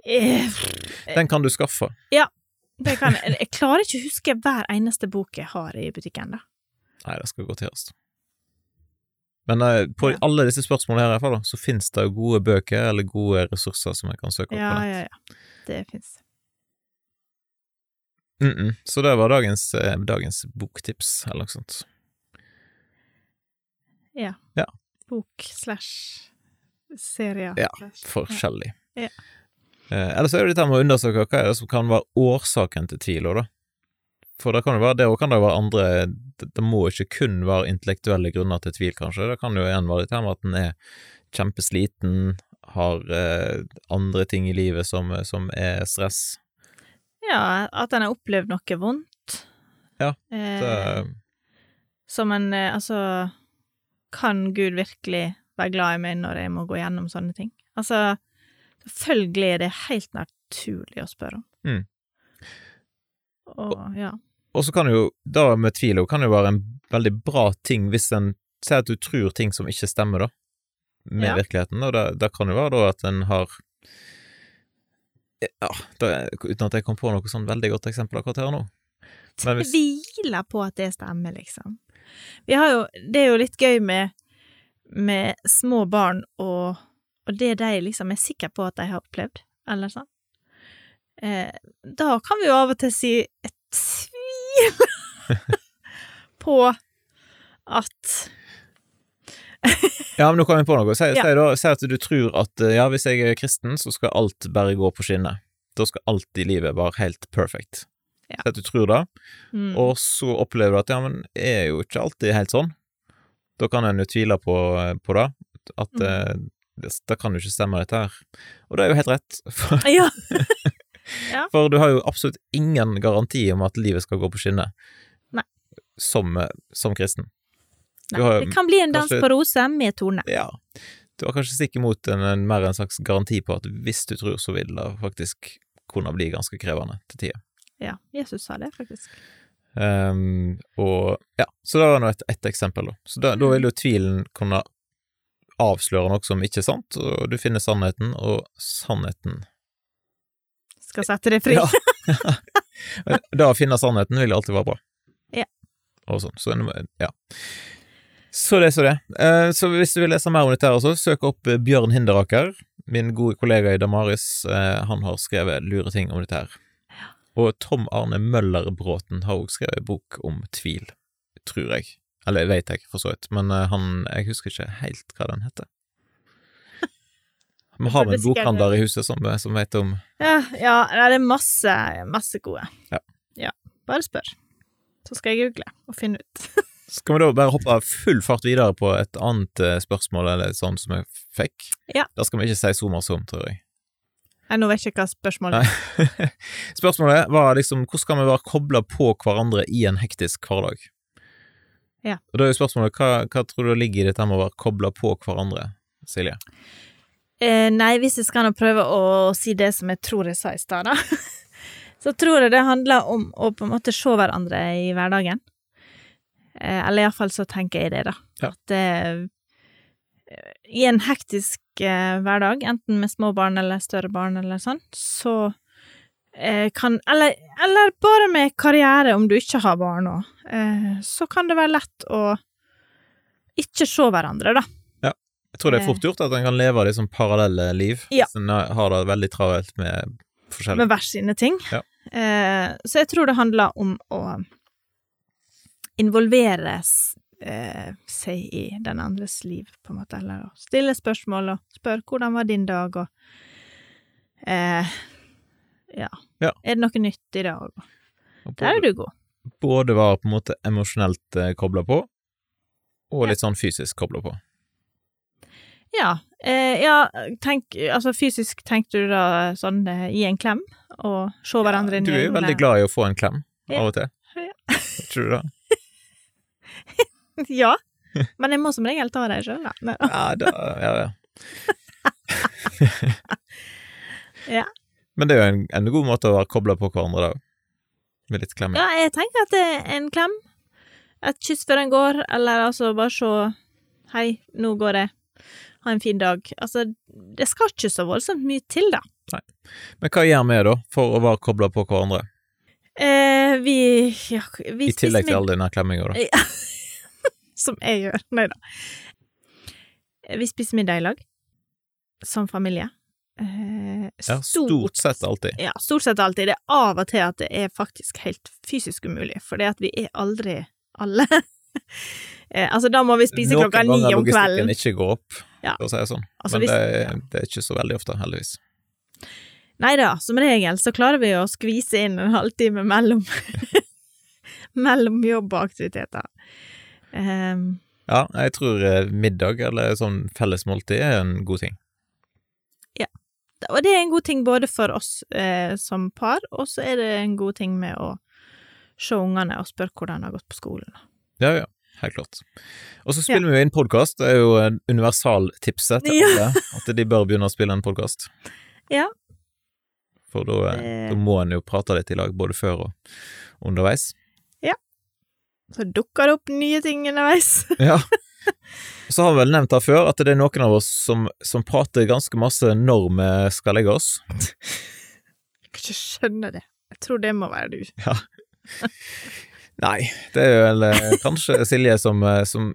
Speaker 1: Eh,
Speaker 2: Den kan du skaffe.
Speaker 1: Det kan, jeg jeg klarer ikke å huske hver eneste bok jeg har i butikken, da.
Speaker 2: Nei, det skal gå til oss. Men eh, på
Speaker 1: Ja. alle
Speaker 2: alle disse spørsmålene her i hvert fall, så finnes det jo gode bøker eller gode ressurser som jeg kan søke opp
Speaker 1: Ja,
Speaker 2: på nett.
Speaker 1: ja, ja. Det fins.
Speaker 2: Mm -mm. Så det var dagens, eh, dagens boktips, eller noe sånt.
Speaker 1: Bok slash serier.
Speaker 2: Ja,
Speaker 1: slash-
Speaker 2: Forskjellig.
Speaker 1: Ja.
Speaker 2: Eh, eller så er det dette med å undersøke hva er det som kan være årsaken til tvil, også, da. For det kan jo være det, og kan det være andre Det, det må ikke kun være intellektuelle grunner til tvil, kanskje. Det kan jo igjen være dette med at en er kjempesliten, har eh, andre ting i livet som, som er stress.
Speaker 1: Ja, at en har opplevd noe vondt.
Speaker 2: Ja,
Speaker 1: Eh,
Speaker 2: Det,
Speaker 1: som en eh, Altså, kan Gud virkelig være glad i meg når jeg må gå gjennom sånne ting? Altså, selvfølgelig er det helt naturlig å spørre om.
Speaker 2: Mm.
Speaker 1: Og ja.
Speaker 2: og så kan jo det med tvil jo, kan jo være en veldig bra ting hvis en sier at du tror ting som ikke stemmer, da, med
Speaker 1: Ja.
Speaker 2: virkeligheten, og det, det kan jo være da at en har ja, det, uten at jeg kom på noe sånn veldig godt eksempel akkurat her nå. Men hvis,
Speaker 1: tviler på at det stemmer, liksom. Vi har jo, det er jo litt gøy med, med små barn og, og det de liksom er sikre på at de har opplevd, eller sånn. Eh, da kan vi jo av og til si jeg tviler på at
Speaker 2: ja, men nå kom jeg på noe. Si,
Speaker 1: Ja.
Speaker 2: si, da, si at du tror at eh, ja, hvis jeg er kristen, så skal alt bare gå på skinner. Da skal alt i livet være helt perfect.
Speaker 1: Ja.
Speaker 2: Si at du tror det,
Speaker 1: mm,
Speaker 2: Og så opplever du at ja, men er jo ikke alltid helt sånn. Da kan en jo tvile på, eh, på det. At
Speaker 1: Mm.
Speaker 2: eh, det, det kan jo ikke stemme, dette her. Og det er jo helt rett. For
Speaker 1: Ja. Ja.
Speaker 2: For du har jo absolutt ingen garanti om at livet skal gå på skinner.
Speaker 1: Nei.
Speaker 2: Som, eh, som kristen. Du
Speaker 1: Nei,
Speaker 2: har jo
Speaker 1: det kan bli en dans
Speaker 2: kanskje-
Speaker 1: på roser med Tone.
Speaker 2: Ja. Du har kanskje stikk imot en, en mer en slags garanti på at hvis du tror, så vil det faktisk kunne bli ganske krevende til tider.
Speaker 1: Ja, Jesus sa det, faktisk.
Speaker 2: Ehm, og ja, så det var nå et, et eksempel, da. Så da, da vil jo tvilen kunne avsløre noe som ikke er sant, og du finner sannheten, og sannheten
Speaker 1: Skal sette det fri.
Speaker 2: Ja. Men Da å finne sannheten vil alltid være bra.
Speaker 1: Ja.
Speaker 2: Og sånn. Så, en- ja. Så det, så det. Eh, Så hvis du vil lese mer om dette, her også, søk opp eh, Bjørn Hinderaker. Min gode kollega i Damaris. Eh, Han har skrevet lure ting om dette her. Og Tom Arne Møller Bråten har også skrevet en bok om tvil, tror jeg. Eller vet jeg, for så vidt. Men eh, han, jeg husker ikke helt hva den heter. Vi har
Speaker 1: burde
Speaker 2: en
Speaker 1: sikkert-
Speaker 2: bokhandler i huset som, som vet om
Speaker 1: Ja, ja nei, det er masse, masse gode.
Speaker 2: Ja.
Speaker 1: ja. Bare spør. Så skal jeg google og finne ut.
Speaker 2: Skal vi da bare hoppe full fart videre på et annet eh, spørsmål eller sånn som jeg fikk?
Speaker 1: Ja.
Speaker 2: Da skal vi ikke si så mye om, tror jeg.
Speaker 1: Nei, nå vet jeg ikke hva spørsmålet er.
Speaker 2: Nei. Spørsmålet var liksom hvordan kan vi være kobla på hverandre i en hektisk hverdag?
Speaker 1: Ja.
Speaker 2: Og da er jo spørsmålet hva, hva tror du ligger i dette med å være kobla på hverandre, Silje?
Speaker 1: Eh, nei, hvis jeg skal nå prøve å si det som jeg tror jeg sa i stad, da, så tror jeg det handler om å på en måte se hverandre i hverdagen. Eh, eller iallfall så tenker jeg det, da.
Speaker 2: Ja.
Speaker 1: At eh, i en hektisk eh, hverdag, enten med små barn eller større barn eller sånn, så eh, kan eller, eller bare med karriere, om du ikke har barn òg, eh, så kan det være lett å ikke se hverandre, da.
Speaker 2: Jeg tror det er
Speaker 1: Eh.
Speaker 2: fort gjort at en kan leve liksom parallelle liv
Speaker 1: Ja.
Speaker 2: hvis en har det veldig travelt med forskjellige
Speaker 1: med hver sine ting.
Speaker 2: Ja.
Speaker 1: Eh, så jeg tror det handler om å involvere s- eh, seg i den andres liv, på en måte, eller å stille spørsmål og spørre 'hvordan var din dag', og eh, ja.
Speaker 2: Ja.
Speaker 1: Er det noe nytt i dag?
Speaker 2: Og
Speaker 1: Der er
Speaker 2: både-
Speaker 1: du god.
Speaker 2: Både være på en måte emosjonelt kobla på, og litt sånn fysisk kobla på.
Speaker 1: Ja. Eh, ja, tenk Altså fysisk tenkte du da sånn eh, i en klem, og se hverandre inn
Speaker 2: Du
Speaker 1: i
Speaker 2: er jo veldig glad i å få en klem
Speaker 1: Ja.
Speaker 2: av og til.
Speaker 1: Ja.
Speaker 2: Tror du det?
Speaker 1: Ja. Men jeg må som regel ta det sjøl, da. Nei.
Speaker 2: Ja, da, ja, ja.
Speaker 1: Ja.
Speaker 2: Men det er jo en, en god måte å være kobla på hverandre, da. Med litt klemming.
Speaker 1: Ja, jeg tenker at det er en klem. Et kyss før en går, eller altså bare se Hei, nå går det. Ha en fin dag. Altså, det skal ikke så voldsomt mye til, da.
Speaker 2: Men hva gjør vi, da, for å være kobla på hverandre?
Speaker 1: Eh, vi ja, vi
Speaker 2: I tillegg til
Speaker 1: middag,
Speaker 2: all denne klemminga, da.
Speaker 1: som jeg gjør. Nei da. Vi spiser middag i lag. Som familie. Eh,
Speaker 2: Ja, stort sett alltid.
Speaker 1: Ja, stort sett alltid. Det er av og til at det er faktisk helt fysisk umulig, for det at vi er aldri alle. eh, altså, da må vi spise klokka ni
Speaker 2: ganger
Speaker 1: om kvelden.
Speaker 2: logistikken ikke går opp,
Speaker 1: Ja.
Speaker 2: for å si det sånn.
Speaker 1: Altså,
Speaker 2: Men
Speaker 1: hvis,
Speaker 2: det, er- det er ikke så veldig ofte, heldigvis.
Speaker 1: Nei da, som regel så klarer vi å skvise inn en halvtime mellom Mellom jobb og aktiviteter. Ehm,
Speaker 2: Ja, jeg tror eh, middag eller sånn fellesmåltid er en god ting.
Speaker 1: og det er en god ting både for oss eh, som par, og så er det en god ting med å se ungene og spørre hvordan det har gått på skolen.
Speaker 2: Ja, ja. Helt klart. Og så spiller vi jo inn podkast. Det er jo eh, universaltipset til
Speaker 1: Ja.
Speaker 2: alle, at de bør begynne å spille en podkast.
Speaker 1: Ja.
Speaker 2: For da, eh,
Speaker 1: Det-
Speaker 2: da må en jo prate litt i lag, både før og underveis.
Speaker 1: Så dukker det opp nye ting underveis.
Speaker 2: Ja. Og Så har vi vel nevnt her før at det er noen av oss som, som prater ganske masse når vi skal legge oss.
Speaker 1: Jeg kan ikke skjønne det. Jeg tror det må være du.
Speaker 2: Nei, det er vel eh, kanskje Silje som, eh, som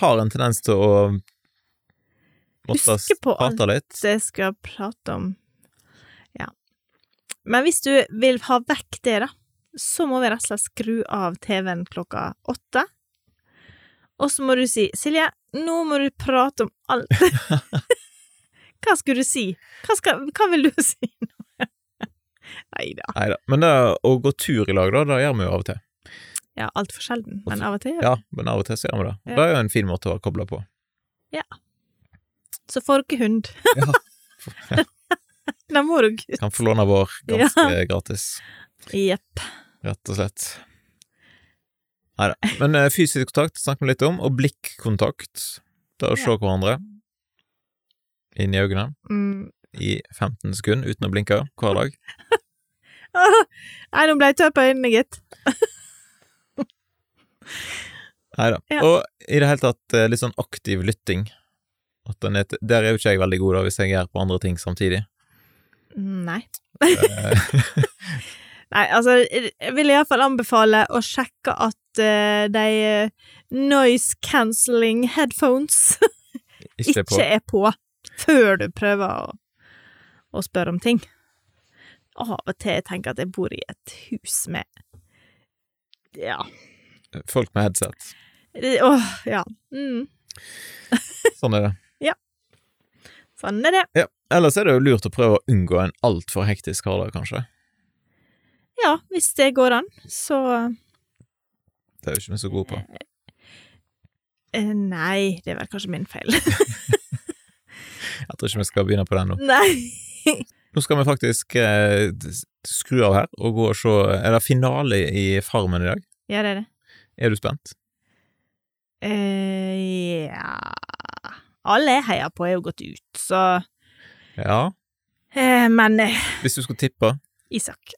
Speaker 2: har en tendens til å måtte
Speaker 1: Huske på alt.
Speaker 2: prate litt.
Speaker 1: det jeg skal prate om. Ja. Men hvis du vil ha vekk det, da, så må vi rett og slett skru av TV-en klokka åtte. Og så må du si 'Silje, nå må du prate om alt'. Hva skulle du si? Hva, skal, hva vil du si nå? Nei da.
Speaker 2: Neida. Men det å gå tur i lag, da, det gjør vi jo av og til.
Speaker 1: Ja, altfor sjelden, men av og til.
Speaker 2: Ja, men av og til så gjør vi det. Og Det er jo en fin måte å være kobla på.
Speaker 1: altså. Så får dere hund. Da må du gutt.
Speaker 2: Kan få låne vår ganske gratis,
Speaker 1: Jepp.
Speaker 2: rett og slett. Nei da. Men eh, fysisk kontakt snakket vi litt om, og blikkontakt. Det er å se hverandre inn i øynene
Speaker 1: Mm.
Speaker 2: i 15 sekunder uten å blinke hver dag.
Speaker 1: Nei, nå ble jeg tørr på øynene, gitt.
Speaker 2: Nei da.
Speaker 1: Ja.
Speaker 2: Og i det hele tatt eh, litt sånn aktiv lytting. At den er, til- der er jo ikke jeg veldig god, da, hvis jeg er på andre ting samtidig.
Speaker 1: Mm, Nei.
Speaker 2: Eh,
Speaker 1: Nei, altså, jeg vil iallfall anbefale å sjekke at eh, de eh, noise cancelling headphones
Speaker 2: ikke
Speaker 1: ikke
Speaker 2: på.
Speaker 1: er på før du prøver å, å spørre om ting. Av og til tenker jeg at jeg bor i et hus med Ja.
Speaker 2: Folk med headset.
Speaker 1: det- Åh, ja. Mm,
Speaker 2: Sånn er det.
Speaker 1: sånn er det.
Speaker 2: Ja. Ellers er det jo lurt å prøve å unngå en altfor hektisk hverdag, kanskje.
Speaker 1: Ja, hvis det går an, så
Speaker 2: Det er jo ikke vi så gode på.
Speaker 1: eh, Nei, det er vel kanskje min feil.
Speaker 2: Jeg tror ikke vi skal begynne på den nå.
Speaker 1: nei.
Speaker 2: Nå skal vi faktisk eh, s- skru av her og gå og se Er det finale i Farmen i dag?
Speaker 1: Ja, det er det.
Speaker 2: Er du spent?
Speaker 1: Eh, ja Alle jeg heier på, er jo gått ut, så
Speaker 2: Ja.
Speaker 1: eh, Men eh,
Speaker 2: Hvis du skulle tippe?
Speaker 1: Isak.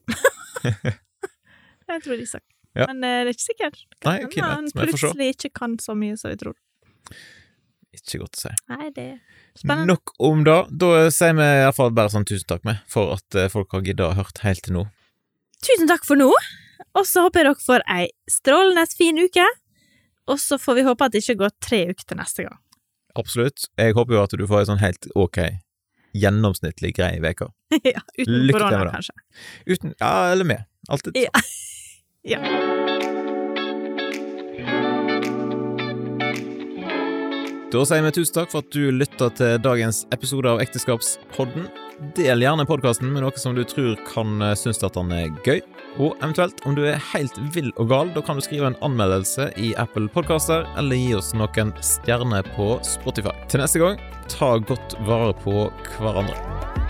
Speaker 1: jeg tror Isak.
Speaker 2: Ja.
Speaker 1: Men eh, det er ikke sikkert.
Speaker 2: Nei,
Speaker 1: hende
Speaker 2: hvem vet,
Speaker 1: han
Speaker 2: vi får se.
Speaker 1: plutselig ikke kan så mye som vi tror.
Speaker 2: Ikke godt å si.
Speaker 1: Nei, det er spennende.
Speaker 2: Nok om det. Da sier vi iallfall bare sånn tusen takk med for at eh, folk har gidda å hørt helt til nå.
Speaker 1: Tusen takk for nå, og så håper jeg dere får ei strålende fin uke. Og så får vi håpe at det ikke går tre uker til neste gang.
Speaker 2: Absolutt. Jeg håper jo at du får ei sånn helt ok, gjennomsnittlig grei uke.
Speaker 1: ja, uten
Speaker 2: Lykke til
Speaker 1: korona,
Speaker 2: med det.
Speaker 1: kanskje.
Speaker 2: Uten Ja, eller med. Alltid.
Speaker 1: Ja. Ja.
Speaker 2: Da sier vi tusen takk for at du lytta til dagens episode av Ekteskapspodden. Del gjerne podkasten med noe som du tror kan eh, synes at den er gøy. Og eventuelt, om du er helt vill og gal, da kan du skrive en anmeldelse i Apple Podkaster, eller gi oss noen stjerner på Spotify. Til neste gang, ta godt vare på hverandre.